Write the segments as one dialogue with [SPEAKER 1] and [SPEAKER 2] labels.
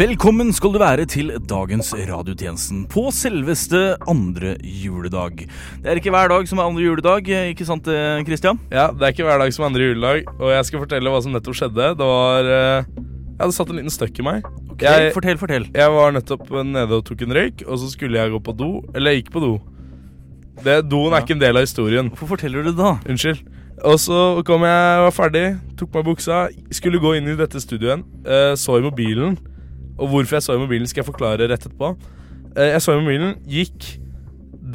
[SPEAKER 1] Velkommen skal du være til dagens radiotjenesten på selveste andre juledag. Det er ikke hver dag som er andre juledag, ikke sant eh, Christian?
[SPEAKER 2] Ja, Det er ikke hver dag som andre juledag, og jeg skal fortelle hva som nettopp skjedde. Det var eh, Ja, det satt en liten støkk i meg. Jeg,
[SPEAKER 1] fortell, fortell.
[SPEAKER 2] jeg var nettopp nede og tok en røyk, og så skulle jeg gå på do. Eller jeg gikk på do. Det, doen er ikke en del av historien.
[SPEAKER 1] Hvorfor forteller du det da?
[SPEAKER 2] Unnskyld. Og så kom jeg, var ferdig, tok meg buksa, skulle gå inn i dette studioet igjen. eh, så i mobilen. Og hvorfor jeg så i mobilen, skal jeg forklare rett etterpå. Eh, jeg så i mobilen, gikk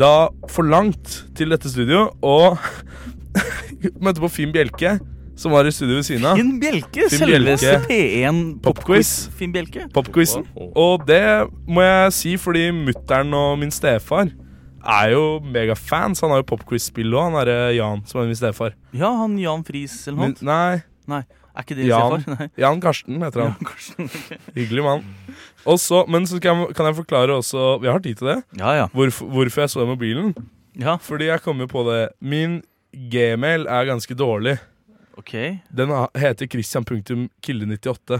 [SPEAKER 2] da for langt til dette studio, og møtte på Finn Bjelke, som var i studio ved siden av.
[SPEAKER 1] Finn Bjelke,
[SPEAKER 2] Finn
[SPEAKER 1] selveste
[SPEAKER 2] Bjelke.
[SPEAKER 1] P1
[SPEAKER 2] Popquiz.
[SPEAKER 1] Finn Bjelke.
[SPEAKER 2] Popquizen. Og det må jeg si fordi mutter'n og min stefar er jo megafans. Han har jo popquiz-spill òg, han derre Jan som er min stefar.
[SPEAKER 1] Ja, han Jan Friis eller noe?
[SPEAKER 2] Min, nei,
[SPEAKER 1] Nei, er ikke det
[SPEAKER 2] Jan,
[SPEAKER 1] stefar? Nei.
[SPEAKER 2] Jan Karsten heter han.
[SPEAKER 1] Jan Karsten.
[SPEAKER 2] Hyggelig mann. Og så- men så kan jeg, kan jeg forklare også Vi har tid til det.
[SPEAKER 1] Ja, ja.
[SPEAKER 2] Hvorfor, hvorfor jeg så den mobilen.
[SPEAKER 1] Ja,
[SPEAKER 2] Fordi jeg kom jo på det. Min gmail er ganske dårlig.
[SPEAKER 1] ok.
[SPEAKER 2] Den ha- heter christian.kilde98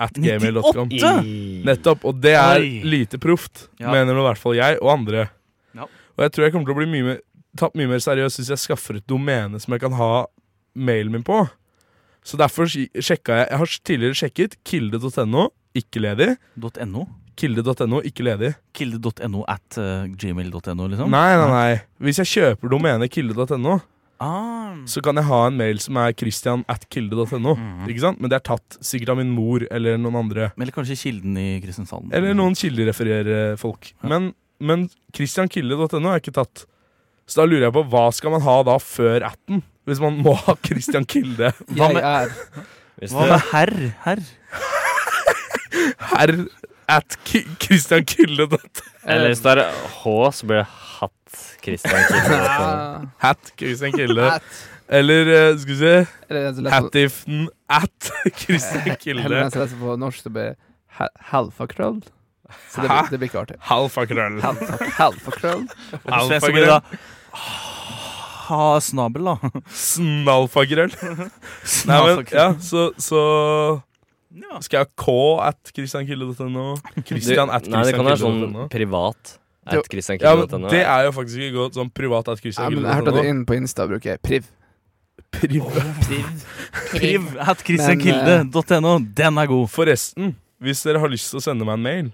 [SPEAKER 2] at
[SPEAKER 1] 98?
[SPEAKER 2] gmail.com. Nettopp. Og det er
[SPEAKER 1] Oi.
[SPEAKER 2] lite proft,
[SPEAKER 1] Ja.
[SPEAKER 2] mener nå i hvert fall jeg og andre.
[SPEAKER 1] Ja.
[SPEAKER 2] Og jeg tror jeg kommer til å bli mye mer, tatt mye mer seriøst hvis jeg skaffer et domene som jeg kan ha mailen min på. Så derfor sj- sjekka jeg Jeg har tidligere sjekket kilde.no, ikke ledig.
[SPEAKER 1] .no?
[SPEAKER 2] Kilde.no, ikke ledig.
[SPEAKER 1] Kilde.no at eh, gmail.no, liksom?
[SPEAKER 2] Nei, nei, nei. Hvis jeg kjøper domenet kilde.no,
[SPEAKER 1] Ah,
[SPEAKER 2] så kan jeg ha en mail som er christian at kilde.no.
[SPEAKER 1] Mhm.
[SPEAKER 2] Ikke sant? Men det er tatt sikkert av min mor eller noen andre.
[SPEAKER 1] eller kanskje Kilden i Kristiansand?
[SPEAKER 2] Eller noen kilderefererer folk. Men, men christiankilde.no er ikke tatt. Så da lurer jeg på hva skal man ha da før atten? Hvis man må ha Christian Kilde.
[SPEAKER 1] Hva
[SPEAKER 3] Jeg
[SPEAKER 1] med,
[SPEAKER 3] er
[SPEAKER 1] hva med herr? Herr?
[SPEAKER 2] Herr at ki- christiankilde.no.
[SPEAKER 4] Eller hvis det er H, så blir det hatt Christian Kilde.
[SPEAKER 3] Ah,
[SPEAKER 2] Hat Christian Kilde.
[SPEAKER 3] at-
[SPEAKER 2] Eller eh, skal vi se
[SPEAKER 3] Eller den som leser på-
[SPEAKER 2] Hattiften at Christian
[SPEAKER 3] Eller den
[SPEAKER 2] Kilde.
[SPEAKER 3] som leser på norsk, det blir ha- halfakrøll. Så det,
[SPEAKER 2] Hæ?
[SPEAKER 3] det blir ikke artig.
[SPEAKER 2] Halfa krøll.
[SPEAKER 3] Halfa- Halfakrøll.
[SPEAKER 1] Og på svensk så blir det da Ha snabel, da.
[SPEAKER 2] Snalfagrøll. Nei, men, ja, så, så
[SPEAKER 1] Ja.
[SPEAKER 2] skal jeg ha k at christiankilde.no? Christian at
[SPEAKER 4] Du- Nei, det kan være
[SPEAKER 2] christiankilde.no?
[SPEAKER 4] sånn privat
[SPEAKER 3] Jo.
[SPEAKER 4] at Christian
[SPEAKER 2] Ja, men
[SPEAKER 4] Kilde.no.
[SPEAKER 2] det er jo faktisk ikke godt. Sånn privat at
[SPEAKER 3] Ja, men jeg hørte at
[SPEAKER 2] christiankilde.no.
[SPEAKER 3] inn på Insta bruker jeg priv.
[SPEAKER 1] Priv
[SPEAKER 3] Men,
[SPEAKER 1] at christiankilde.no. Den er god.
[SPEAKER 2] Forresten, hvis dere har lyst til å sende meg en mail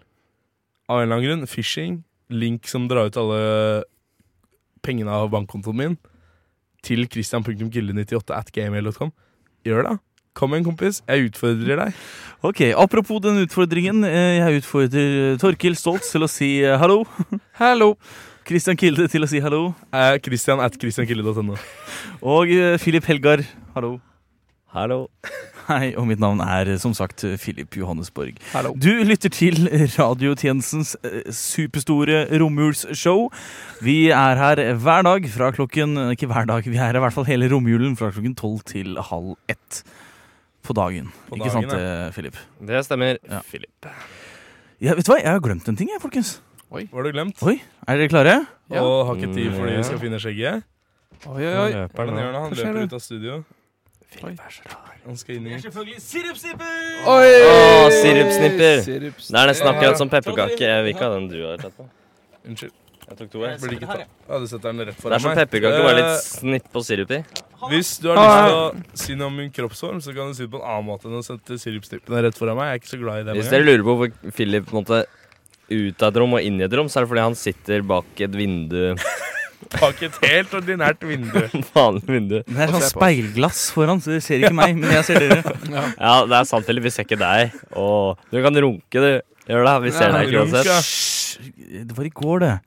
[SPEAKER 2] av en eller annen grunn, phishing, link som drar ut alle pengene av bankkontoen min, til christian.kilde98 at gmail.com, gjør det. Kom igjen, kompis. Jeg utfordrer deg.
[SPEAKER 1] Ok, Apropos den utfordringen. eh, Jeg utfordrer Torkil Stoltz til å si eh, hallo.
[SPEAKER 2] Hallo.
[SPEAKER 1] Christian Kilde til å si hallo.
[SPEAKER 2] Eh, Christian at christiankilde.no.
[SPEAKER 1] Og eh, Philip Helgar, hallo.
[SPEAKER 4] Hallo.
[SPEAKER 1] Hei, og mitt navn er eh, som sagt Philip Johannesborg.
[SPEAKER 3] Hallo.
[SPEAKER 1] Du lytter til radiotjenestens eh, superstore romjulsshow. Vi er her hver dag fra klokken Ikke hver dag, vi er her i hvert fall hele romjulen fra klokken tolv til halv ett på dagen.
[SPEAKER 2] På
[SPEAKER 1] ikke
[SPEAKER 2] dagen,
[SPEAKER 1] sant, eh, Philip?
[SPEAKER 4] Det stemmer.
[SPEAKER 1] Ja.
[SPEAKER 4] Philip.
[SPEAKER 1] Ja, vet du hva, jeg har glemt en ting, jeg, folkens.
[SPEAKER 2] Hva har du glemt?
[SPEAKER 1] Er dere klare?
[SPEAKER 3] Ja.
[SPEAKER 2] Og har ikke tid fordi
[SPEAKER 4] Mm.
[SPEAKER 2] vi skal finne skjegget.
[SPEAKER 3] Oi, oi, oi.
[SPEAKER 4] Løper
[SPEAKER 2] Men
[SPEAKER 4] nå.
[SPEAKER 2] Jørn, han
[SPEAKER 3] Hva skjer
[SPEAKER 2] løper
[SPEAKER 3] nå?
[SPEAKER 2] ut av studio. Han skal inn i
[SPEAKER 3] oi.
[SPEAKER 4] Å, sirupsnipper.
[SPEAKER 3] Sirups-
[SPEAKER 4] Det er nesten akkurat som pepperkake. Jeg vil ikke ha den du har tatt på.
[SPEAKER 2] Unnskyld.
[SPEAKER 4] Jeg tok to, jeg.
[SPEAKER 2] Burde ikke ta. Ja, du setter den rett
[SPEAKER 4] Det er
[SPEAKER 2] foran
[SPEAKER 4] som
[SPEAKER 2] meg.
[SPEAKER 4] pepperkake, bare
[SPEAKER 2] Eh,
[SPEAKER 4] litt snipp og sirup i.
[SPEAKER 2] Hvis du har lyst
[SPEAKER 1] Ah.
[SPEAKER 2] til å si noe om min kroppsform, så kan du si det på en annen måte enn å sette sirupsnippene rett foran meg. Jeg er ikke så glad i det.
[SPEAKER 4] Hvis dere
[SPEAKER 2] mange.
[SPEAKER 4] lurer på hvor Philip på en måte ut av et rom og inn i et rom, så er det fordi han sitter bak et vindu.
[SPEAKER 2] Bak et helt ordinært vindu.
[SPEAKER 4] Vanlig vindu.
[SPEAKER 1] Det er
[SPEAKER 3] Og
[SPEAKER 1] sånn
[SPEAKER 3] se på.
[SPEAKER 1] speilglass foran, så dere ser ikke meg, men jeg ser dere.
[SPEAKER 4] Ja, det er sant, Philip. Vi ser ikke deg. Åh, du kan runke, du. Gjør det. Vi ser
[SPEAKER 3] Ja,
[SPEAKER 4] deg ikke
[SPEAKER 2] runk, ja.
[SPEAKER 4] uansett.
[SPEAKER 1] Hysj! Det var i går, det.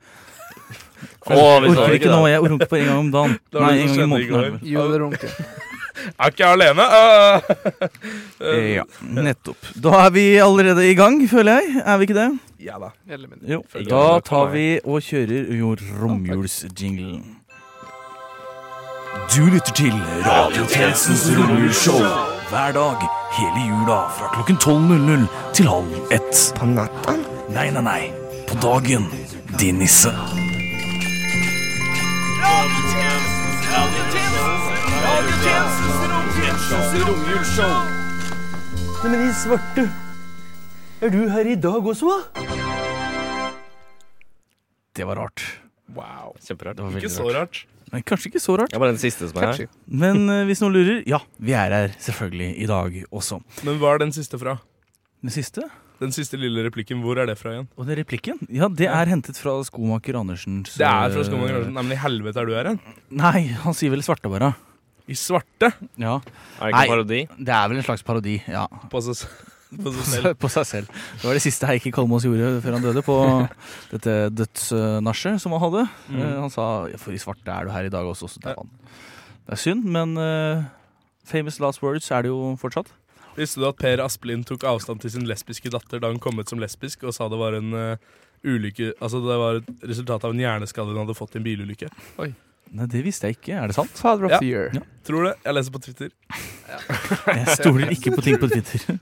[SPEAKER 4] Åh, vi så
[SPEAKER 1] Orker
[SPEAKER 4] det
[SPEAKER 1] ikke nå,
[SPEAKER 4] ikke, da.
[SPEAKER 1] jeg runker på en gang om dagen.
[SPEAKER 2] Det var
[SPEAKER 1] Nei,
[SPEAKER 2] det
[SPEAKER 1] en
[SPEAKER 2] som
[SPEAKER 1] gang i
[SPEAKER 2] skjedde i
[SPEAKER 1] måneden. er det vel.
[SPEAKER 3] Jon Runke.
[SPEAKER 2] Er ikke jeg alene? Ah!
[SPEAKER 1] Eh, Ja, nettopp. Da er vi allerede i gang, føler jeg. Er vi ikke det?
[SPEAKER 2] ja da.
[SPEAKER 3] Mer eller mindre.
[SPEAKER 1] Jo,
[SPEAKER 2] Følger
[SPEAKER 1] da
[SPEAKER 2] med på
[SPEAKER 1] tar
[SPEAKER 2] meg.
[SPEAKER 1] vi og kjører jo romjulsjinglen. Du lytter til Radiotjenestens romjulsshow hver dag hele jula fra klokken 12.00 til halv ett. På natta? Nei, nei, nei. På dagen, din nisse.
[SPEAKER 5] Men i svarte, er du her i dag også, hva?
[SPEAKER 1] Det var rart.
[SPEAKER 2] Wow.
[SPEAKER 4] Kjemperart.
[SPEAKER 1] Det var
[SPEAKER 2] Ikke
[SPEAKER 1] veldig
[SPEAKER 2] så
[SPEAKER 1] rart.
[SPEAKER 2] rart.
[SPEAKER 1] Men kanskje ikke så rart.
[SPEAKER 4] Det er bare den siste som er her.
[SPEAKER 3] Kanskje.
[SPEAKER 1] Men eh, hvis noen lurer, ja, vi er her selvfølgelig i dag også.
[SPEAKER 2] Men hva er den siste fra?
[SPEAKER 1] Den siste,
[SPEAKER 2] Den siste lille replikken, hvor er det fra igjen?
[SPEAKER 1] og den replikken, ja, det er hentet fra skomaker Andersens
[SPEAKER 2] Det er fra
[SPEAKER 1] eh,
[SPEAKER 2] Skomaker Andersen. Nei, men i helvete er du her igjen?
[SPEAKER 1] Nei, han sier vel svartabara.
[SPEAKER 2] I svarte?
[SPEAKER 1] Ja.
[SPEAKER 4] Er det ikke
[SPEAKER 1] Nei.
[SPEAKER 4] en parodi?
[SPEAKER 1] Det er vel en slags parodi, ja.
[SPEAKER 2] På seg, s- på seg selv.
[SPEAKER 1] På seg selv. Det var det siste Heikki Kalmås gjorde før han døde, på dette dødsnasjet som han hadde.
[SPEAKER 2] Mm.
[SPEAKER 1] Eh, Han sa ja, 'for i svarte er du her i dag også', så der var han. Det er synd, men eh, famous last words er det jo fortsatt.
[SPEAKER 2] Visste du at Per Asplin tok avstand til sin lesbiske datter da hun kom ut som lesbisk, og sa det var en eh, ulykke Altså det var et resultat av en hjerneskade hun hadde fått i en bilulykke?
[SPEAKER 1] Nei, det visste jeg ikke. Er det sant?
[SPEAKER 3] Father of
[SPEAKER 2] Ja.
[SPEAKER 3] the year.
[SPEAKER 1] Ja.
[SPEAKER 2] Tror du det? Jeg leser på Twitter.
[SPEAKER 1] Jeg stoler ikke på ting på Twitter.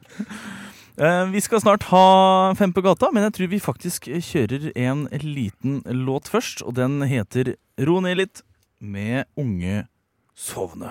[SPEAKER 1] Eh, Vi skal snart ha Fem på gata, men jeg tror vi faktisk kjører en liten låt først. Og den heter Ro ned litt med Unge sovne.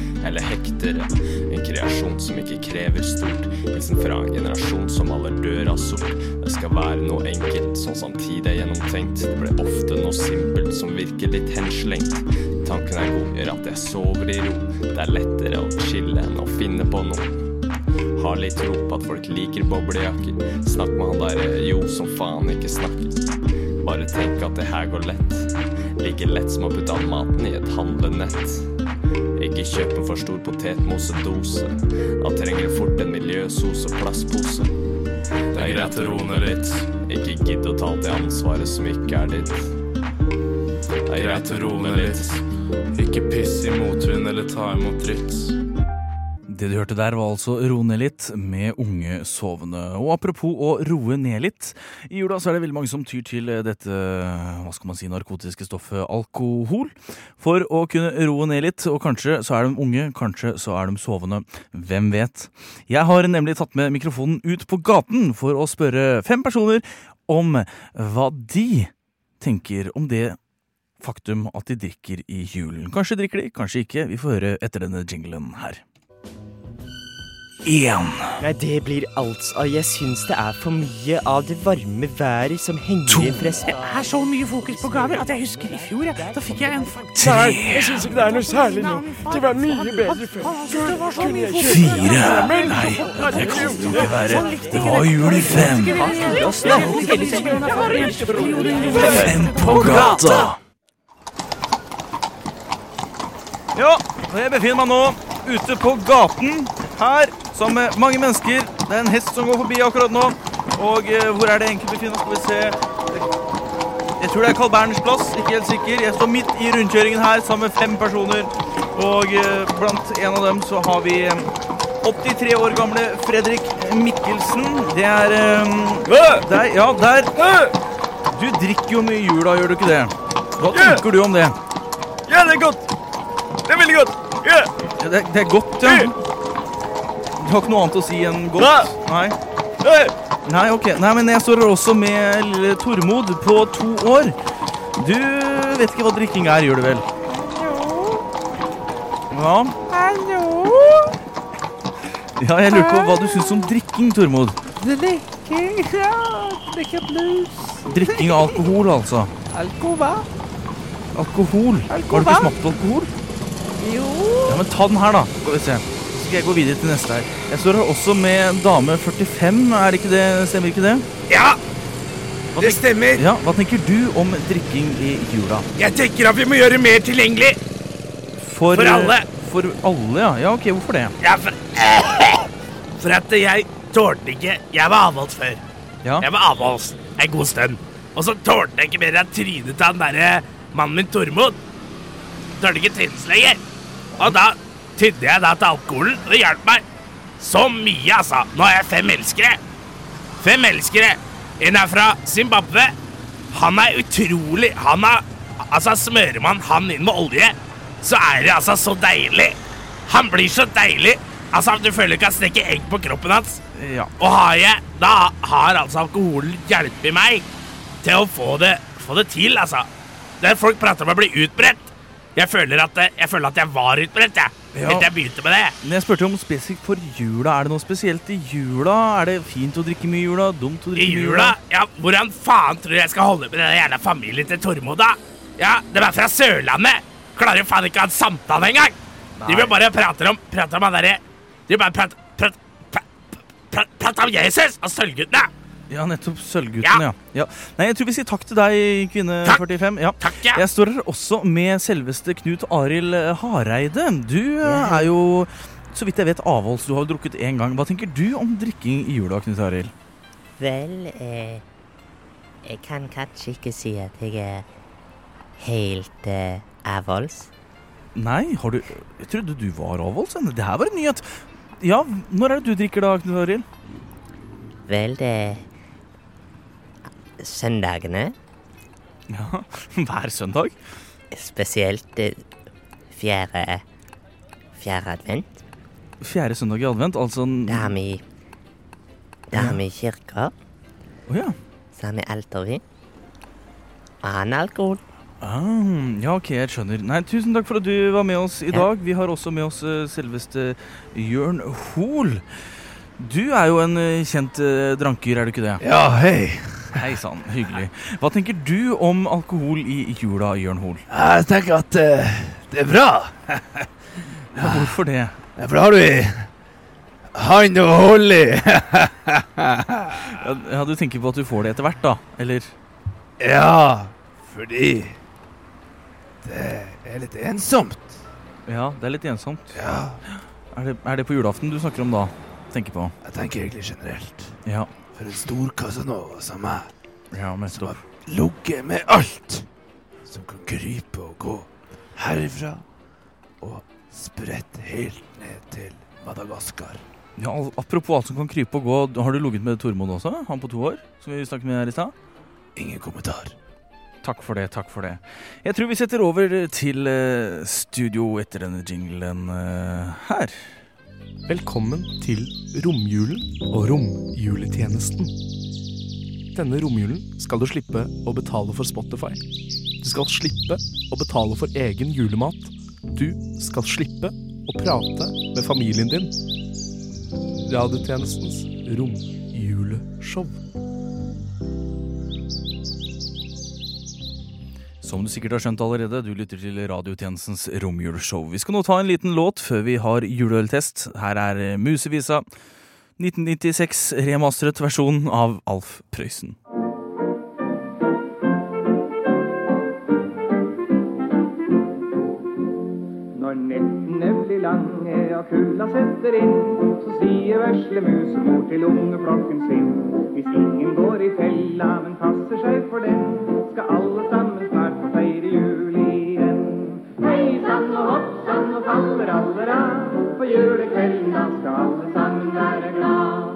[SPEAKER 4] eller hektere. En kreasjon som ikke krever stort. Hilsen fra en generasjon som alle dør av sort. Det skal være noe enkelt, sånn som samtidig er gjennomtenkt. Det blir ofte noe simpelt som virker litt henslengt. Tanken er god, gjør at jeg sover i ro. Det er lettere å chille enn å finne på noe. Har litt tro på at folk liker boblejakker. Snakk med han derre jo som faen ikke snakker. Bare tenk at det her går lett. Like lett som å putte all maten i et handlenett. Ikke kjøp en for stor potetmosedose. Da trenger du fort en miljøsos og plastpose. Det er greit å roe ned litt. Ikke gidd å ta alt det ansvaret som ikke er ditt. Det er greit å roe ned litt.
[SPEAKER 6] Ikke piss i motvind eller ta imot dritt.
[SPEAKER 1] Det du hørte der, var altså 'Ro ned litt' med Unge sovende. Og apropos å roe ned litt. I jula så er det veldig mange som tyr til dette hva skal man si, narkotiske stoffet alkohol for å kunne roe ned litt. Og kanskje så er de unge, kanskje så er de sovende. Hvem vet? Jeg har nemlig tatt med mikrofonen ut på gaten for å spørre fem personer om hva de tenker om det faktum at de drikker i julen. Kanskje drikker de, kanskje ikke. Vi får høre etter denne jinglen her. Én.
[SPEAKER 7] Nei, det blir altså Jeg syns det er for mye av det varme været som henger
[SPEAKER 1] To.
[SPEAKER 7] igjen fra spa-
[SPEAKER 8] er så mye fokus på gaver at jeg husker i fjor. jeg. Da fikk jeg en
[SPEAKER 1] Tre.
[SPEAKER 8] syns ikke det er noe særlig nå. Det var mye bedre før. Det var så mye fokus.
[SPEAKER 1] Fire. Nei, det kan jo ikke
[SPEAKER 8] Sånn
[SPEAKER 1] være. Det var jul i fem. Fem på gata. Ja, og jeg befinner meg nå ute på gaten her sammen med mange mennesker. Det er en hest som går forbi akkurat nå. Og eh, hvor er det egentlig befinner oss? Skal vi se. Jeg tror det er Carl Berners plass, ikke helt sikker. Jeg står midt i rundkjøringen her sammen med fem personer. Og eh, blant en av dem så har vi eh, 83 år gamle Fredrik Mikkelsen. Det er eh, Der, ja, der. Du drikker jo mye i jula, gjør du ikke det? Hva tenker du om det?
[SPEAKER 2] Ja, det er godt! Det er veldig godt! Ja!
[SPEAKER 1] Ja, Det, det er godt, ja. Du har ikke noe annet å si enn godt? Nei.
[SPEAKER 2] Hey!
[SPEAKER 1] Nei, ok. Nei, men jeg står her også med lille Tormod på to år. Du vet ikke hva drikking er, gjør du vel? Ja. Ja, jeg lurer på hva du syns om drikking, Tormod.
[SPEAKER 8] Drikking, ja. Drikke blues.
[SPEAKER 1] Drikking av alkohol, altså.
[SPEAKER 8] Alcova.
[SPEAKER 1] Alkohol. Har du ikke smakt på alkohol? Jo. Ja, men Ta den her, da. Skal vi se. Så skal jeg gå videre til neste her. Jeg står her også med dame 45. Er det ikke det? Stemmer ikke det? Ja. Hva
[SPEAKER 9] Det
[SPEAKER 1] tenk-
[SPEAKER 9] stemmer.
[SPEAKER 1] Ja, Hva tenker du om drikking i jula?
[SPEAKER 9] Jeg tenker at vi må gjøre mer tilgjengelig.
[SPEAKER 1] For,
[SPEAKER 9] For alle.
[SPEAKER 1] For alle, ja. ja. Ok, hvorfor det?
[SPEAKER 9] Ja, for, for at jeg tålte ikke Jeg var avholds før.
[SPEAKER 1] Ja.
[SPEAKER 9] Jeg var avholds en god stund. Og så tålte jeg ikke mer enn trynet til han derre mannen min Tormod. Tålte ikke tynnes lenger. Og da tydde jeg da til alkoholen, og det hjalp meg så mye, altså. Nå er jeg fem elskere. Fem elskere. En er fra Zimbabwe. Han er utrolig Han er Altså, smører man han inn med olje, så er det altså så deilig. Han blir så deilig. Altså, du føler du kan stikke egg på kroppen hans.
[SPEAKER 1] Ja.
[SPEAKER 9] Og har jeg Da har altså alkoholen hjulpet meg til å få det, få det til, altså. Der folk prater om å bli utbredt. Jeg føler at, jeg, føler at jeg var utbredt, jeg.
[SPEAKER 1] Ja.
[SPEAKER 9] Helt til jeg begynte med det.
[SPEAKER 1] Men jeg spurte om spesifikt for jula. Er det noe spesielt i jula? Er det fint å drikke mye i jula? Dumt å
[SPEAKER 9] I
[SPEAKER 1] drikke mye
[SPEAKER 9] jula? Ja, hvordan faen tror du jeg skal holde med den jævla familien til Tormod, da? Ja, de er fra Sørlandet. Klarer jo faen ikke å ha en samtale engang. De vil bare prate om Prate om han derre De vil bare prate prate pra- pra- Prate om Jesus og Sølvguttene.
[SPEAKER 1] Ja, nettopp. Sølvgutten, ja. ja. Nei, jeg tror vi sier takk til deg, kvinne 45. Ja.
[SPEAKER 9] ja.
[SPEAKER 1] Jeg står her også med selveste Knut Arild eh, Hareide. Du eh, er jo, så vidt jeg vet, avholds. Du har jo drukket én gang. Hva tenker du om drikking i jula, Knut Arild?
[SPEAKER 10] Vel, eh, jeg kan kanskje ikke si at jeg er helt eh, avholds.
[SPEAKER 1] Nei, har du Jeg trodde du var avholds. men Det her var en nyhet. Ja, når er det du drikker da, Knut Arild?
[SPEAKER 10] Vel, det Søndagene.
[SPEAKER 1] Ja, hver søndag?
[SPEAKER 10] Spesielt eh, fjerde Fjerde advent.
[SPEAKER 1] Fjerde søndag i advent, altså en-
[SPEAKER 10] Da har vi Da har vi kirker.
[SPEAKER 1] Å ja.
[SPEAKER 10] Så har vi altervin. Og annen alkohol.
[SPEAKER 1] Ah, ja, ok, jeg skjønner. Nei, Tusen takk for at du var med oss i dag. Vi har også med oss eh, selveste Jørn Hoel. Du er jo en eh, kjent eh, dranker, er du ikke det?
[SPEAKER 11] Ja, hei.
[SPEAKER 1] Hei sann, hyggelig. Hva tenker du om alkohol i jula, Jørn Hoel?
[SPEAKER 11] Jeg tenker at eh, det er bra.
[SPEAKER 1] Ja, hvorfor det?
[SPEAKER 11] Ja, For da har du han å holde i.
[SPEAKER 1] Ja, ja, Du tenker på at du får det etter hvert, da? Eller?
[SPEAKER 11] ja, fordi det er litt ensomt.
[SPEAKER 1] Ja, det er litt ensomt. Ja. Er det, er det på julaften du snakker om da? Tenker på?
[SPEAKER 11] Jeg tenker egentlig generelt.
[SPEAKER 1] Ja.
[SPEAKER 11] For en stor Casanova som meg,
[SPEAKER 1] Ja, nettopp.
[SPEAKER 11] ligger med alt som kan krype og gå herifra og spredt helt ned til Madagaskar.
[SPEAKER 1] Ja, al- apropos alt som kan krype og gå, har du ligget med Tormod også? Han på to år? Som vi snakket med her i stad?
[SPEAKER 11] Ingen kommentar.
[SPEAKER 1] Takk for det, takk for det. Jeg tror vi setter over til eh, studio etter denne jinglen eh, her.
[SPEAKER 12] Velkommen til romjulen og romjuletjenesten. Denne romjulen skal du slippe å betale for Spotify. Du skal slippe å betale for egen julemat. Du skal slippe å prate med familien din. Radiotjenestens romjuleshow.
[SPEAKER 1] Som du sikkert har skjønt allerede, du lytter til radiotjenestens romjuleshow. Vi skal nå ta en liten låt før vi har juleøltest. Her er eh, Musevisa. 1996 remasteret versjon av Alf Prøysen.
[SPEAKER 13] Når nettene blir lange og kulda setter inn, så sier vesle musemor til ungeflokken sin. Hvis ingen går i fella, men passer seg for den, skal alle sammen snart få feire jul igjen. Hei sann og hopp sann og faller allera, på julekvelden da skal alle sammen være glad.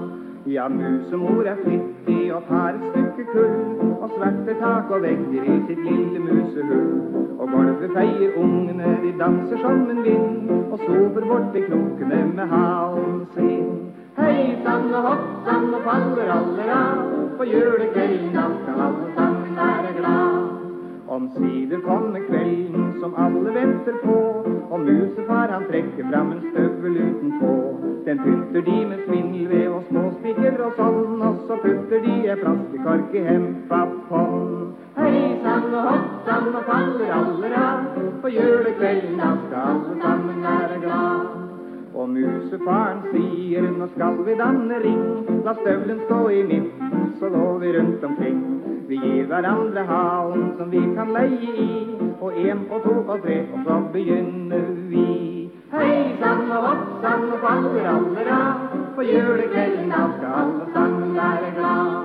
[SPEAKER 13] Ja, musemor er flittig og tar et stykke kull, og sverter tak og vegger i sitt lille musehull. Og gulvet feier ungene, de danser som en vind, og sover borti krokene med halen sin. Hei sann og hopp sann og faller aller av, på julekvelden da skal alle sammen være glad. Omsider kommer kvelden som alle venter på, og musefar han trekker fram en støvel utenpå. Den pynter de med svindelvev og små spiker og sånn, og så putter de ei plastikkork i hempa på'n. Hei sann og hopp sann og faller aller av, på julekvelden da skal alle sammen være glad. Og musefaren sier nå skal vi danne ring, la støvelen stå i midten, så går vi rundt omkring. Vi gir hverandre halen som vi kan leie i. På én og to og tre, og så begynner vi. Hei sann og hopp sann og faller alle av. På julekvelden da skal alle sammen være glad.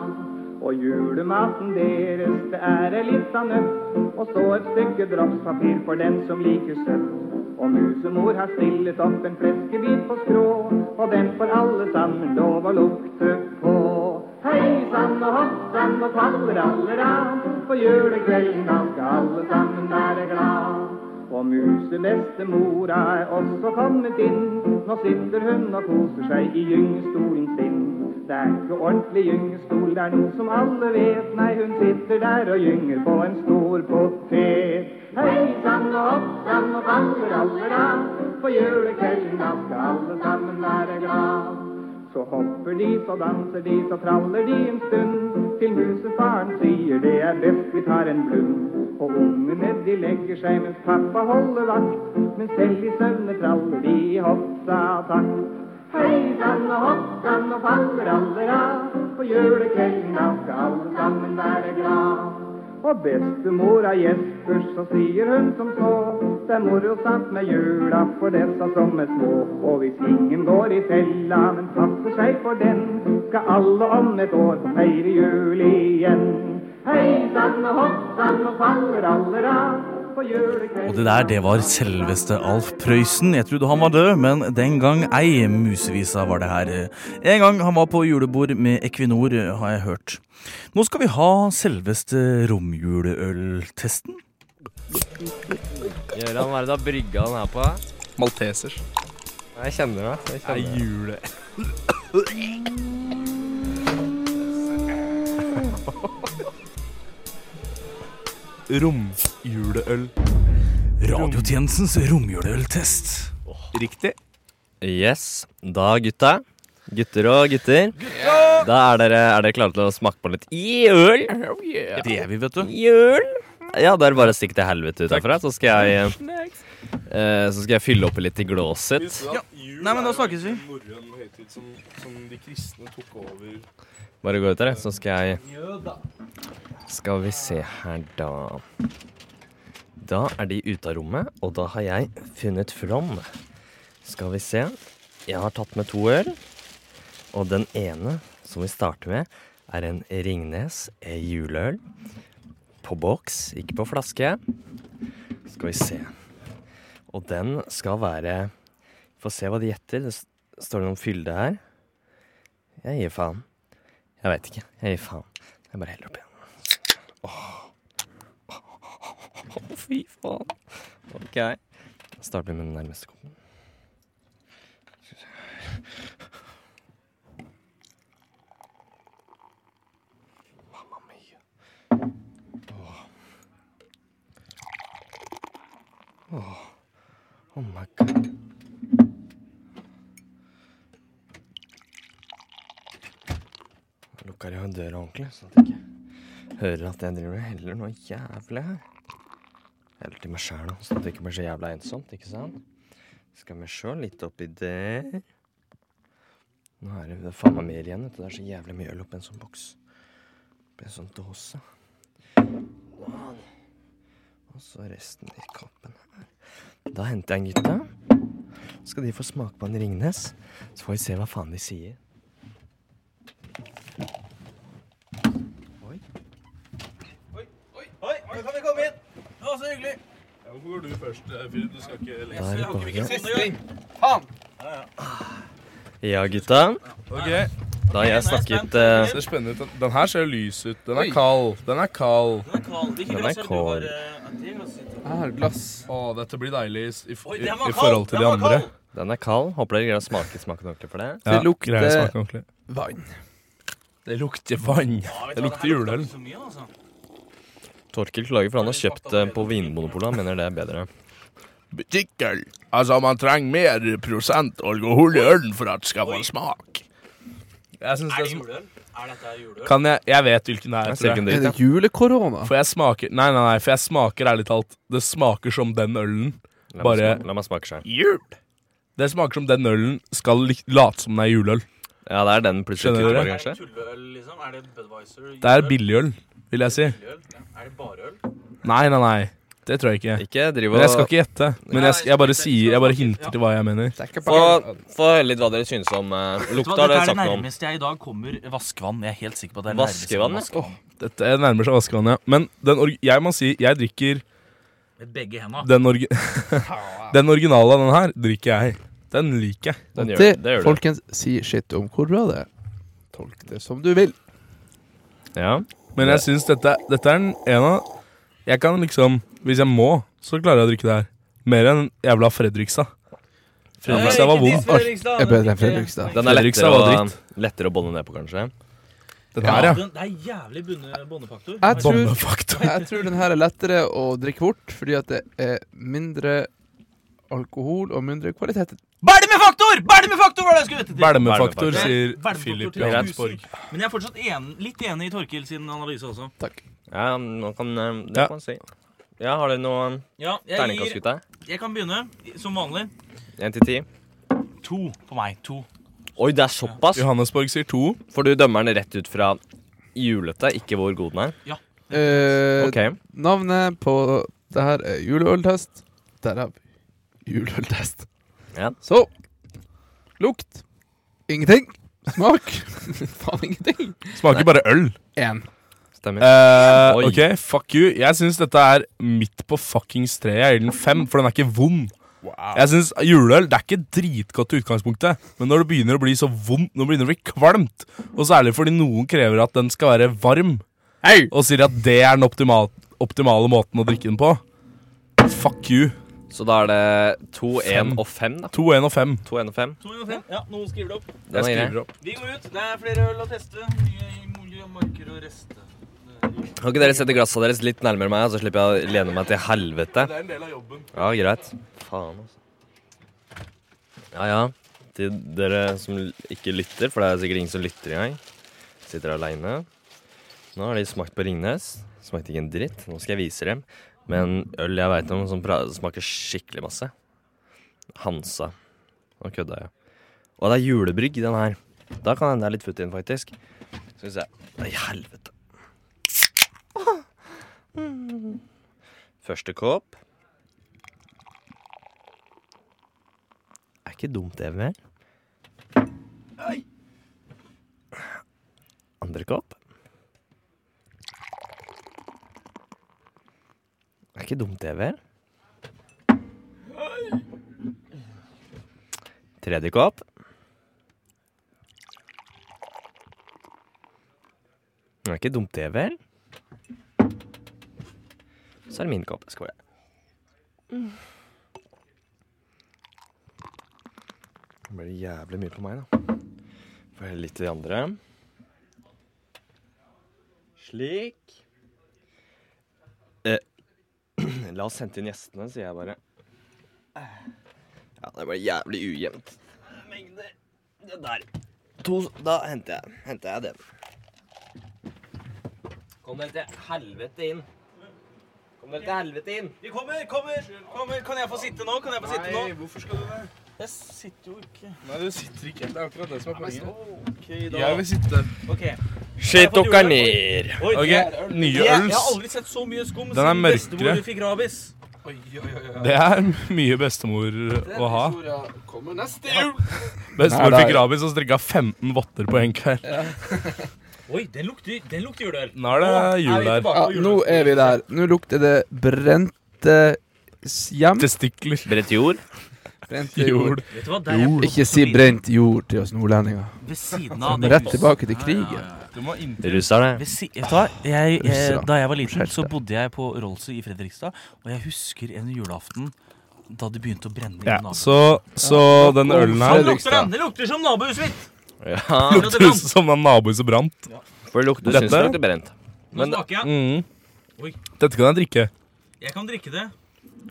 [SPEAKER 13] Og julematen deres, det er ei lita nøtt. Og så et stykke dropspapir for den som liker søtt. Og musemor har stillet opp en fleskebit på skrå, og den får alle sammen lov å lukte på. Hei sann og hopp sann og faller aller av, på julekvelden da skal alle sammen være glad. Og musemestemora er også kommet inn, nå sitter hun og koser seg i gyngestolen sin. Det er ikke ordentlig gyngestol, det er noe som alle vet, nei hun sitter der og gynger på en stor potet. Hei sann og hopp sann og faller aller av, på julekvelden da skal alle sammen være glad. Så hopper de, så danser de, så traller de en stund, til musefaren sier det er best vi tar en blund. Og ungene de legger seg mens pappa holder vakt, men selv i søvne traller de i hopp sa takk. Hei sann og hopp sann og faller aller av, på julekvelden da skal alle sammen være glad. Og bestemor er Jespers, så sier hun som så. Det er morosamt med jula for dessa som er små. Og hvis ingen går i fella, men passer seg for den, skal alle om et år få feire jul igjen. Hei sann og hopp sann og faller aller av, på julekvelden
[SPEAKER 1] Og det der, det var selveste Alf Prøysen. Jeg trodde han var død, men den gang ei. Musevisa var det her. En gang han var på julebord med Equinor, har jeg hørt. Nå skal vi ha selveste romjuleøltesten.
[SPEAKER 7] Gjøran, hva er det du har brygga den her på?
[SPEAKER 3] Maltesers.
[SPEAKER 7] Jeg kjenner det. Jeg kjenner det.
[SPEAKER 3] Jule.
[SPEAKER 12] Romjuleøl.
[SPEAKER 1] Radiotjenestens romjuleøltest.
[SPEAKER 12] Riktig.
[SPEAKER 14] Yes. Da, gutta. Gutter og gutter. Da er dere, er dere klare til å smake på litt i øl?
[SPEAKER 1] Det er vi, vet du.
[SPEAKER 14] I øl? Ja, da er det bare å stikke til helvete ut herfra, så skal jeg eh, Så skal jeg fylle oppi litt i glåset.
[SPEAKER 1] Ja. Nei, men da snakkes vi.
[SPEAKER 2] Norrøn høytid som, som de kristne tok over.
[SPEAKER 14] Bare gå ut der, så skal jeg
[SPEAKER 2] Ja da.
[SPEAKER 14] Skal vi se her, da. Da er de ute av rommet, og da har jeg funnet fram. Skal vi se. Jeg har tatt med to øl. Og den ene som vi starter med, er en Ringnes juleøl. På boks, ikke på flaske. Skal vi se. Og den skal være Få se hva de gjetter. Det s- står det noen fylde her. Jeg gir faen. Jeg veit ikke. Jeg gir faen. Jeg bare heller oppi. Å, fy faen. Ok. Da starter vi med den nærmeste koppen. Mamma mia. Åh. Åh. Oh my god. Nå lukker jeg døra ordentlig, så at jeg ikke hører at jeg driver og heller noe jævlig her. Eller til meg sjæl, da, så det ikke blir så jævla ensomt, ikke sant? Skal vi se litt oppi der Nå er det, det er faen meg mer igjen, vet du. Det er så jævlig mye øl oppi en sånn boks. Oppi en sånn dåse. Wow. Og så resten i koppen her. Da henter jeg en gutta. Så skal de få smake på en Ringnes. Så får vi se hva faen de sier.
[SPEAKER 5] Oi, nå kan vi komme inn! Det var så hyggelig!
[SPEAKER 2] Ja, hvorfor går du først, eh, Filip? Du skal ikke eller-
[SPEAKER 14] Da er det bare-
[SPEAKER 5] Faen!
[SPEAKER 14] Ja, gutta.
[SPEAKER 2] Ok.
[SPEAKER 14] Da har jeg snakket eh,
[SPEAKER 2] Det ser spennende ut. Den her ser lys ut. Den er kald. Den er kald.
[SPEAKER 14] Den er kald.
[SPEAKER 2] Er glass. Å, dette blir deilig i, s- i, f-
[SPEAKER 14] Oi,
[SPEAKER 2] i,
[SPEAKER 14] den var
[SPEAKER 2] i
[SPEAKER 14] kald!
[SPEAKER 2] forhold til
[SPEAKER 14] Den
[SPEAKER 2] de
[SPEAKER 14] var
[SPEAKER 2] andre.
[SPEAKER 14] kald! Den er kald. Håper dere greier å smake smaken ordentlig for det.
[SPEAKER 2] Ja, Det lukter- greier å smake ordentlig.
[SPEAKER 14] vann.
[SPEAKER 2] Det lukter vann. Det lukter juleøl.
[SPEAKER 14] Torkil klager for han har kjøpt eh, på Vinmonopolet. Han mener det er bedre.
[SPEAKER 6] Butikkøl. Altså, man trenger mer prosent alkohol i ølen for at det skal få smak.
[SPEAKER 2] Jeg synes det er som-
[SPEAKER 9] Er dette juleøl?
[SPEAKER 2] Kan jeg Jeg vet hvilken det er.
[SPEAKER 14] Jeg
[SPEAKER 2] tror
[SPEAKER 14] ser hvilken det er. Er det
[SPEAKER 2] julekorona? For jeg smaker Nei, nei, nei, for jeg smaker ærlig talt Det smaker som den ølen.
[SPEAKER 14] La meg
[SPEAKER 2] Bare
[SPEAKER 14] smake- la meg smake selv.
[SPEAKER 2] Jul! Det smaker som den ølen skal lik- late som den er juleøl.
[SPEAKER 14] Ja, det er den plutselig
[SPEAKER 2] Skjønner
[SPEAKER 14] kutter
[SPEAKER 2] dere?
[SPEAKER 14] på, kanskje?
[SPEAKER 9] Tulleøl, liksom? Er det Budwiser?
[SPEAKER 2] Det er billigøl. vil jeg si.
[SPEAKER 1] Er det bare øl?
[SPEAKER 2] Nei, nei, nei. Det tror jeg ikke.
[SPEAKER 14] Ikke drive
[SPEAKER 2] Men jeg skal
[SPEAKER 14] og-
[SPEAKER 2] ikke gjette. Men jeg, jeg bare sier Jeg bare hinter til hva jeg mener.
[SPEAKER 14] Få, få høre litt hva dere synes om uh,
[SPEAKER 1] Vet du hva,
[SPEAKER 14] lukta. har
[SPEAKER 1] Dette
[SPEAKER 14] Dere
[SPEAKER 1] er det
[SPEAKER 14] snakket om
[SPEAKER 1] nærmeste jeg i dag kommer vaskevann. Jeg er helt sikker på at det er
[SPEAKER 14] Vaskevann, ja.
[SPEAKER 1] vaskevann.
[SPEAKER 2] Dette nærmer seg vaskevann, ja. Men den orgi- jeg må si jeg drikker
[SPEAKER 1] Med begge henda.
[SPEAKER 2] den, orgi den originale av den her drikker jeg. Den liker jeg.
[SPEAKER 14] Den
[SPEAKER 3] Det, folkens, si shit om hvor bra det er. Tolk det som du vil.
[SPEAKER 14] Ja.
[SPEAKER 2] Men jeg syns dette, dette er den ene av Jeg kan liksom Hvis jeg må, så klarer jeg å drikke det her. Mer enn jævla Fredrikstad. Fredrikstad var vond.
[SPEAKER 3] Jeg bedre enn Fredrikstad.
[SPEAKER 14] Den er lettere,
[SPEAKER 2] Fredrikstad var
[SPEAKER 14] å,
[SPEAKER 2] dritt.
[SPEAKER 14] lettere å bånde ned på, kanskje.
[SPEAKER 2] Den her, ja.
[SPEAKER 1] Det er jævlig bunde- bondefaktor.
[SPEAKER 3] Jeg tror, jeg tror den her er lettere å drikke bort, fordi at det er mindre alkohol og mindre kvalitet.
[SPEAKER 1] Belmefaktor! Belmefaktor var det jeg skulle vette til!
[SPEAKER 2] Belmefaktor, sier
[SPEAKER 1] Belmefaktor til
[SPEAKER 2] Philip
[SPEAKER 1] tusen.
[SPEAKER 2] Johansborg.
[SPEAKER 1] Men jeg er fortsatt en, litt enig i Torkil sin analyse også.
[SPEAKER 3] Takk.
[SPEAKER 14] Ja, man kan, eh, det
[SPEAKER 1] Ja.
[SPEAKER 14] kan man si. Ja, har dere noe
[SPEAKER 1] Ja, jeg
[SPEAKER 14] terningkast,
[SPEAKER 1] gir-
[SPEAKER 14] gutta?
[SPEAKER 1] Jeg kan begynne, som vanlig.
[SPEAKER 14] Én til ti?
[SPEAKER 1] To på meg. To.
[SPEAKER 14] Oi, det er såpass?
[SPEAKER 2] Johannesborg sier to.
[SPEAKER 14] For du dømmer den rett ut fra julete, ikke hvor god den er?
[SPEAKER 1] Ja.
[SPEAKER 3] Eh,
[SPEAKER 14] Ok.
[SPEAKER 3] Navnet på det her er juleøltest. Derav juleøltest.
[SPEAKER 14] Ja.
[SPEAKER 3] Så lukt ingenting. Smak faen ingenting.
[SPEAKER 2] Smaker bare øl.
[SPEAKER 3] Én.
[SPEAKER 14] Stemmer.
[SPEAKER 2] Eh,
[SPEAKER 3] Oi.
[SPEAKER 2] ok, fuck you. Jeg syns dette er midt på fuckings treet. Jeg gir den fem, for den er ikke vond. Jeg synes Juleøl det er ikke dritgodt i utgangspunktet, men når det begynner å bli så vondt, når det begynner å bli kvalmt, og særlig fordi noen krever at den skal være varm, og sier at det er den optimal, optimale måten å drikke den på Fuck you.
[SPEAKER 14] Så da er det to,
[SPEAKER 2] Fem.
[SPEAKER 14] én og fem, da.
[SPEAKER 2] To, én og fem.
[SPEAKER 14] To, én og fem.
[SPEAKER 1] To ganger fem. Ja, noen skriver det opp.
[SPEAKER 14] Jeg skriver opp.
[SPEAKER 1] Vi går ut. Det er flere øl å teste. Nye moler og marker å reste.
[SPEAKER 14] Kan ikke dere sette glassa deres litt nærmere meg, så slipper jeg å lene meg til helvete?
[SPEAKER 1] Det er en del av jobben.
[SPEAKER 14] Ja, greit. Faen, altså. Ja, ja. Til dere som l- ikke lytter, for det er sikkert ingen som lytter engang. Sitter aleine. Nå har de smakt på Ringnes. Smakte ikke en dritt. Nå skal jeg vise dem. Men øl jeg veit om som pra- smaker skikkelig masse. Hansa. Nå kødda jeg. Og det er julebrygg, den her. Da kan hende det er litt futt i den, faktisk. Skal vi se. Nei, helvete. Første kopp. er ikke dumt, det mer. Andre kopp. Er ikke dumt, det vel? Tredje kopp. Det er ikke dumt, det vel? Så er det min kopp. Skål. Det blir jævlig mye på meg, da. Får helle litt til de andre. Slik. Eh, la oss hente inn gjestene, sier jeg bare. Ja, det ble jævlig ujevnt. Mengder. Det der. To, da henter jeg, henter jeg den. Kom dere til helvete inn. Kom dere til helvete inn.
[SPEAKER 1] Vi kommer, kommer, kommer. Kan jeg få sitte nå? Kan jeg få sitte nå?
[SPEAKER 2] Nei, hvorfor skal du det?
[SPEAKER 1] Jeg sitter jo ikke.
[SPEAKER 2] Nei, du sitter ikke. Det er akkurat det som er poenget.
[SPEAKER 1] Ok, da.
[SPEAKER 2] Jeg vil sitte.
[SPEAKER 1] Ok.
[SPEAKER 14] Shit, dere ned.
[SPEAKER 1] Oi, det
[SPEAKER 2] Ok,
[SPEAKER 1] er øl.
[SPEAKER 2] nye
[SPEAKER 1] Jeg- Jeg
[SPEAKER 2] øls.
[SPEAKER 1] har aldri sett så mye skum
[SPEAKER 2] Den er
[SPEAKER 1] siden
[SPEAKER 2] mørkere.
[SPEAKER 1] bestemor fikk rabies. Oi, oi, oi,
[SPEAKER 2] Det er mye bestemor å ha.
[SPEAKER 3] kommer neste jul.
[SPEAKER 1] Nei,
[SPEAKER 2] Bestemor
[SPEAKER 1] det
[SPEAKER 2] fikk
[SPEAKER 1] er-
[SPEAKER 2] rabies og strikka 15 votter på en kveld.
[SPEAKER 1] Oi, den lukter, den lukter juleøl.
[SPEAKER 2] Nå er det jul
[SPEAKER 1] vi
[SPEAKER 2] der.
[SPEAKER 1] tilbake
[SPEAKER 3] Ja,
[SPEAKER 1] på
[SPEAKER 3] nå er vi der. Nå lukter det brente s- hjem.
[SPEAKER 2] Testikler.
[SPEAKER 14] Brent jord.
[SPEAKER 3] Brent
[SPEAKER 2] Jord.
[SPEAKER 3] jord.
[SPEAKER 1] Vet du hva, der er jeg
[SPEAKER 3] Ikke si brent jord til oss nordlendinger.
[SPEAKER 1] Ved siden av
[SPEAKER 3] Kom
[SPEAKER 1] det
[SPEAKER 3] Rett
[SPEAKER 1] huset.
[SPEAKER 3] tilbake til krigen.
[SPEAKER 2] Du må inn
[SPEAKER 14] Russerne.
[SPEAKER 1] Ved si- Vet du hva? Jeg, eh,
[SPEAKER 3] Russerne.
[SPEAKER 1] da jeg var liten, så bodde jeg på Rollsø i Fredrikstad. Og jeg husker en julaften da det begynte å brenne i
[SPEAKER 2] Ja,
[SPEAKER 1] naboen.
[SPEAKER 2] så- så
[SPEAKER 1] Ja.
[SPEAKER 2] den
[SPEAKER 1] Å,
[SPEAKER 2] ølen her-
[SPEAKER 1] faen, lukter den. Det lukter som nabohuset mitt!
[SPEAKER 14] Ja.
[SPEAKER 2] Lukter ut som en nabo som brant.
[SPEAKER 14] For det lukter, synes det lukter brent.
[SPEAKER 1] Nå smaker jeg.
[SPEAKER 2] Mm.
[SPEAKER 1] Oi.
[SPEAKER 2] Dette kan jeg drikke.
[SPEAKER 1] Jeg kan drikke det.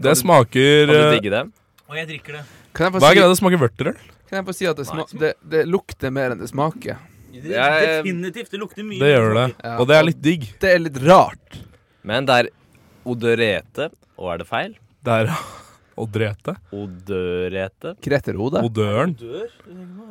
[SPEAKER 2] Det smaker
[SPEAKER 14] Kan du
[SPEAKER 2] eh,
[SPEAKER 14] digge det?
[SPEAKER 1] Og jeg drikker det.
[SPEAKER 3] Kan jeg få
[SPEAKER 2] Hva er
[SPEAKER 3] si-
[SPEAKER 2] greia? Det smaker vørterøl?
[SPEAKER 3] Kan jeg få si at det, sma det, det lukter mer enn det smaker?
[SPEAKER 1] Det, definitivt. Det lukter mye.
[SPEAKER 2] Det gjør det. Og det er litt digg.
[SPEAKER 3] Det er litt rart.
[SPEAKER 14] Men det er odørete, og er det feil?
[SPEAKER 2] Det er odrete.
[SPEAKER 14] Odørete.
[SPEAKER 3] Kreter hodet.
[SPEAKER 2] Odøren.
[SPEAKER 1] Dør?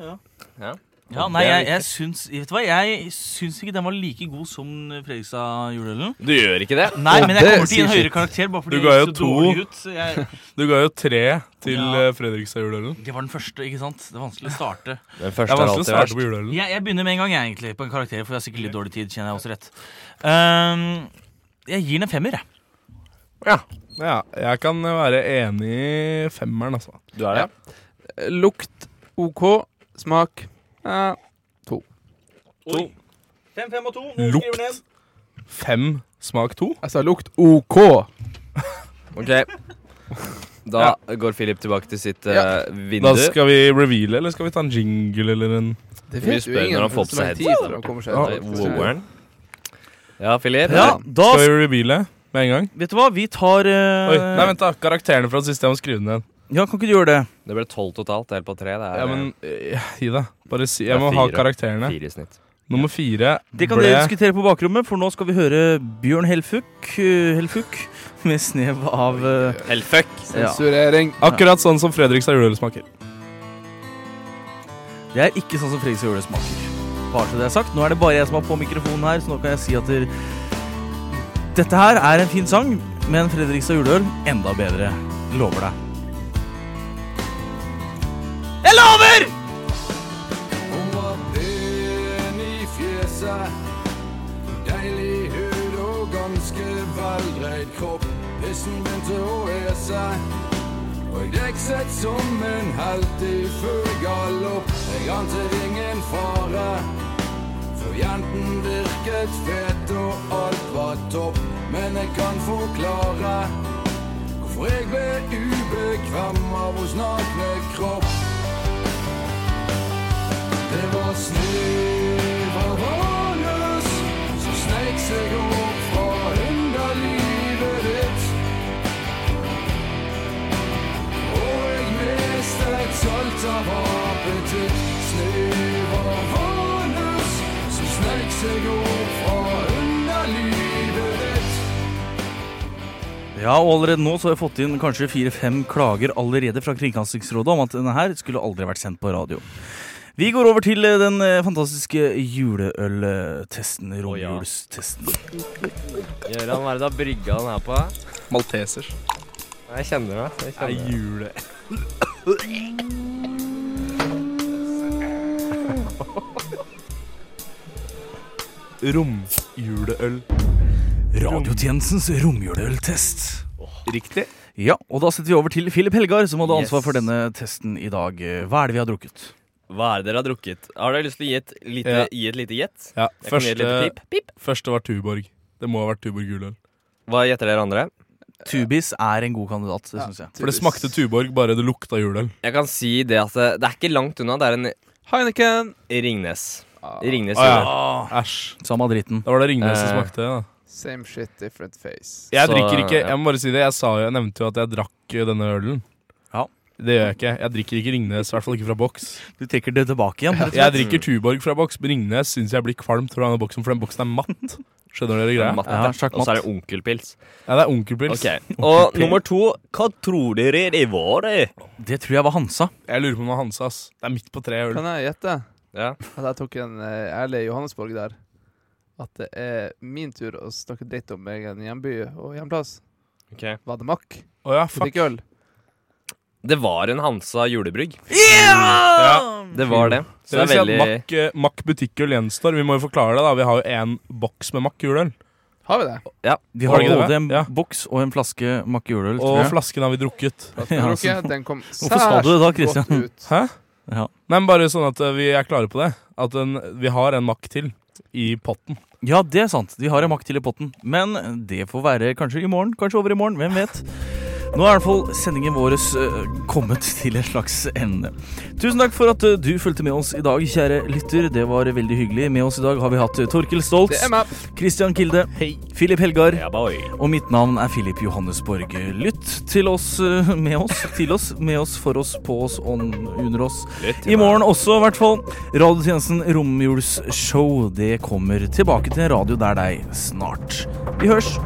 [SPEAKER 1] Ja.
[SPEAKER 14] Ja.
[SPEAKER 1] Ja,
[SPEAKER 14] Og
[SPEAKER 1] nei,
[SPEAKER 14] det er
[SPEAKER 1] jeg, jeg, syns, vet du hva? jeg syns ikke den var like god som Fredrikstad-juleølen.
[SPEAKER 14] Du gjør ikke det.
[SPEAKER 1] Nei,
[SPEAKER 14] Og
[SPEAKER 1] men jeg
[SPEAKER 14] det
[SPEAKER 1] kommer til å gi
[SPEAKER 14] sier
[SPEAKER 1] en høyere
[SPEAKER 14] sitt.
[SPEAKER 1] karakter bare fordi
[SPEAKER 2] Du ga
[SPEAKER 1] det
[SPEAKER 2] jo
[SPEAKER 1] så
[SPEAKER 2] to.
[SPEAKER 1] dårlig ut. så Jeg,
[SPEAKER 2] Du ga jo tre til
[SPEAKER 1] Ja.
[SPEAKER 2] eh, Fredrikstad-juleølen.
[SPEAKER 1] det var den første, ikke sant? Det er vanskelig å starte.
[SPEAKER 2] Den første Det er vanskelig er alltid å starte verst. på juleølen.
[SPEAKER 1] Jeg, jeg begynner med en gang, jeg, egentlig, på en karakter, for jeg har sikkert litt dårlig tid. kjenner jeg også rett. Ehm, jeg gir den en femmer, jeg.
[SPEAKER 2] Ja. ja. Jeg kan være enig i femmeren, altså.
[SPEAKER 14] Du er det?
[SPEAKER 3] Lukt OK. Smak eh, to.
[SPEAKER 1] Oi. Fem, fem og to.
[SPEAKER 2] Lukt. Fem, smak to.
[SPEAKER 3] Jeg sa lukt OK.
[SPEAKER 14] Ok. Da går Philip tilbake til sitt eh, vindu.
[SPEAKER 2] Da skal vi reveale, eller skal vi ta en jingle eller en
[SPEAKER 14] Det vet Vi spør jo ingen når han får på så seg lang tid headset. før han kommer seg
[SPEAKER 2] Ja.
[SPEAKER 14] ut. Woweren. Ja,
[SPEAKER 3] sånn.
[SPEAKER 14] Philip.
[SPEAKER 1] Ja, da-
[SPEAKER 2] Skal vi reveale med en gang?
[SPEAKER 1] Vet du hva, vi tar eh,
[SPEAKER 2] Oi, nei, vent da, Karakterene fra det siste jeg må skrive ned.
[SPEAKER 1] Ja, kan ikke du gjøre det?
[SPEAKER 14] Det ble tolv totalt. Delt på tre. Det er
[SPEAKER 2] Ja, men eh, Gi deg. Bare si
[SPEAKER 14] Det er
[SPEAKER 2] Jeg må ha
[SPEAKER 14] fire.
[SPEAKER 2] karakterene.
[SPEAKER 14] Fire i snitt.
[SPEAKER 2] Nummer fire
[SPEAKER 1] Det kan dere diskutere på bakrommet, for nå skal vi høre Bjørn Helfuk, eh, Helfuk med snev av eh,
[SPEAKER 14] Helfuk.
[SPEAKER 1] Ja.
[SPEAKER 2] Akkurat sånn som Fredrikstad juleøl smaker.
[SPEAKER 1] Det er ikke sånn som Fredrik Sjøle smaker. Bare så det er sagt. Nå er det bare jeg som er på mikrofonen her, så nå kan jeg si at dere Dette her er en fin sang, men Fredrikstad juleøl enda bedre. Lover deg. Jeg lover!
[SPEAKER 8] Hun var pen i fjeset, deilig hud og ganske veldreid kropp. Pissen begynte å ese, og jeg dekset som en helt i full galopp. Jeg ante ingen fare, for jenten virket fet og alt var topp. Men jeg kan forklare hvorfor jeg ble ubekvem av hos nakne kropp. Det var snev av valnøs som sneik seg opp fra underlivet ditt. Og jeg mistet salt av appetitt. Snev av valnøs som sneik seg opp fra underlivet ditt.
[SPEAKER 1] Ja, og allerede nå så har jeg fått inn kanskje fire-fem klager allerede fra Kringkastingsrådet om at denne her skulle aldri vært sendt på radio. Vi går over til eh, den eh, fantastiske juleøltesten, romjulstesten.
[SPEAKER 14] Gøran, hva er det du har brygga den her på?
[SPEAKER 2] Maltesers.
[SPEAKER 14] Jeg kjenner det. Jeg
[SPEAKER 2] Det er
[SPEAKER 14] kjenner
[SPEAKER 2] jule... Romjuleøl.
[SPEAKER 1] Radiotjenestens romjuleøltest.
[SPEAKER 2] Riktig.
[SPEAKER 1] Ja, og da setter vi over til Filip Helgar, som hadde ansvar
[SPEAKER 14] Yes.
[SPEAKER 1] for denne testen i dag. Eh, Hva er det vi har drukket?
[SPEAKER 14] Hva er det dere har drukket? Har dere lyst til å gi et lite,
[SPEAKER 2] Ja.
[SPEAKER 14] gi et lite gjett?
[SPEAKER 2] Ja,
[SPEAKER 14] Jeg kan gi et
[SPEAKER 2] første,
[SPEAKER 14] lite pip.
[SPEAKER 2] første var Tuborg. Det må ha vært Tuborg juleøl.
[SPEAKER 14] Hva gjetter dere andre?
[SPEAKER 1] Tubis er en god kandidat, det syns jeg.
[SPEAKER 2] For det smakte Tuborg, bare det lukta juleøl.
[SPEAKER 14] Jeg kan si det at eh, det, det er ikke langt unna. Det er en
[SPEAKER 3] Heineken.
[SPEAKER 14] Ringnes. Ringnes
[SPEAKER 2] Å, Ah, ja.
[SPEAKER 14] juleøl.
[SPEAKER 2] Æsj.
[SPEAKER 1] Samme dritten.
[SPEAKER 2] Da var det Ringnes som
[SPEAKER 14] Eh.
[SPEAKER 2] smakte, da.
[SPEAKER 3] Same shit, different face.
[SPEAKER 2] Jeg
[SPEAKER 14] Så,
[SPEAKER 2] drikker ikke,
[SPEAKER 14] ja.
[SPEAKER 2] jeg må bare si det Jeg sa jo, jeg nevnte jo at jeg drakk eh, denne ølen Det gjør jeg ikke Jeg drikker ikke Ringnes, i hvert fall ikke fra boks
[SPEAKER 1] Du trekker det tilbake igjen, rett og
[SPEAKER 2] Jeg
[SPEAKER 1] slett.
[SPEAKER 2] drikker Tuborg fra boks Men Ringnes synes jeg blir kvalmt fra denne boksen For den boksen er matt Skjønner dere greia?
[SPEAKER 14] Matt, ja, og så er det onkelpils.
[SPEAKER 2] Ja, det er onkelpils
[SPEAKER 14] Ok, Og nummer to, hva tror dere det var? eh?
[SPEAKER 1] Det tror jeg var Hansa.
[SPEAKER 2] Jeg lurer på om det var Hansa, ass Det er midt på tre øl
[SPEAKER 3] Kan jeg gjette?
[SPEAKER 14] Ja.
[SPEAKER 3] At jeg tok en eh, ærlig Johannesborg der. At det er min tur å snakke dritt om egen hjemby og hjemplass.
[SPEAKER 14] Ok.
[SPEAKER 3] Var det makk?
[SPEAKER 2] Å ja,
[SPEAKER 3] fuck. Ikke øl.
[SPEAKER 14] Det var en Hansa julebrygg.
[SPEAKER 2] Ja!
[SPEAKER 14] Det var det. Så
[SPEAKER 2] det
[SPEAKER 14] det
[SPEAKER 2] vil si
[SPEAKER 14] er
[SPEAKER 2] at
[SPEAKER 14] veldig
[SPEAKER 2] Mack, eh, Mack butikkøl gjenstår Vi må jo forklare det da Vi har jo en boks med Mack juleøl
[SPEAKER 3] Har vi det?
[SPEAKER 14] Ja
[SPEAKER 1] Vi har
[SPEAKER 2] ikke det?
[SPEAKER 1] både en boks og en flaske makke juleøl.
[SPEAKER 2] Og flasken har vi drukket.
[SPEAKER 1] Ja,
[SPEAKER 3] har
[SPEAKER 1] altså.
[SPEAKER 3] drukket, den kom
[SPEAKER 1] Hvorfor sa du det da,
[SPEAKER 3] særs
[SPEAKER 1] Christian?
[SPEAKER 3] godt
[SPEAKER 2] Hæ?
[SPEAKER 1] Ja.
[SPEAKER 2] Nei, men bare sånn at eh, vi er klare på det At en, vi har en Mack til i potten
[SPEAKER 1] Ja, det er sant. Vi har en makt til i potten. Men det får være kanskje i morgen, kanskje over i morgen. Hvem vet. Nå er i hvert fall sendingen vår eh, kommet til en slags ende. Tusen takk for at eh, du fulgte med oss i dag, kjære lytter. Det var veldig hyggelig. Med oss i dag har vi hatt eh, Torkil Stoltz,
[SPEAKER 3] Det er meg.
[SPEAKER 1] Christian Kilde, Filip Helgar,
[SPEAKER 14] boy.
[SPEAKER 1] og mitt navn er Filip Johannesborg. Lytt til oss, eh, med oss, til oss, med oss, for oss, på oss, on, under oss.
[SPEAKER 14] Lytt til
[SPEAKER 1] I morgen også, i hvert fall. Radiotjenesten Romjulsshow, det kommer tilbake til en radio der deg snart. Vi hørs.